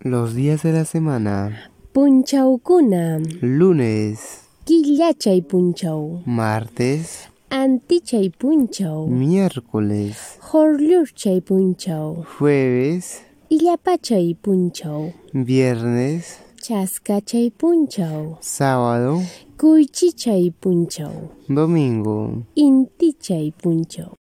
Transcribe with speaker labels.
Speaker 1: Los días de la semana.
Speaker 2: Punchaukuna,
Speaker 1: Lunes,
Speaker 2: Killachay punchaw,
Speaker 1: martes,
Speaker 2: Antichay punchaw,
Speaker 1: miércoles,
Speaker 2: Jorlurchay punchaw,
Speaker 1: jueves,
Speaker 2: Illapachay punchaw,
Speaker 1: viernes,
Speaker 2: Chaskachay punchaw,
Speaker 1: sábado,
Speaker 2: Kuychichay punchaw,
Speaker 1: domingo.
Speaker 2: Intichay punchaw.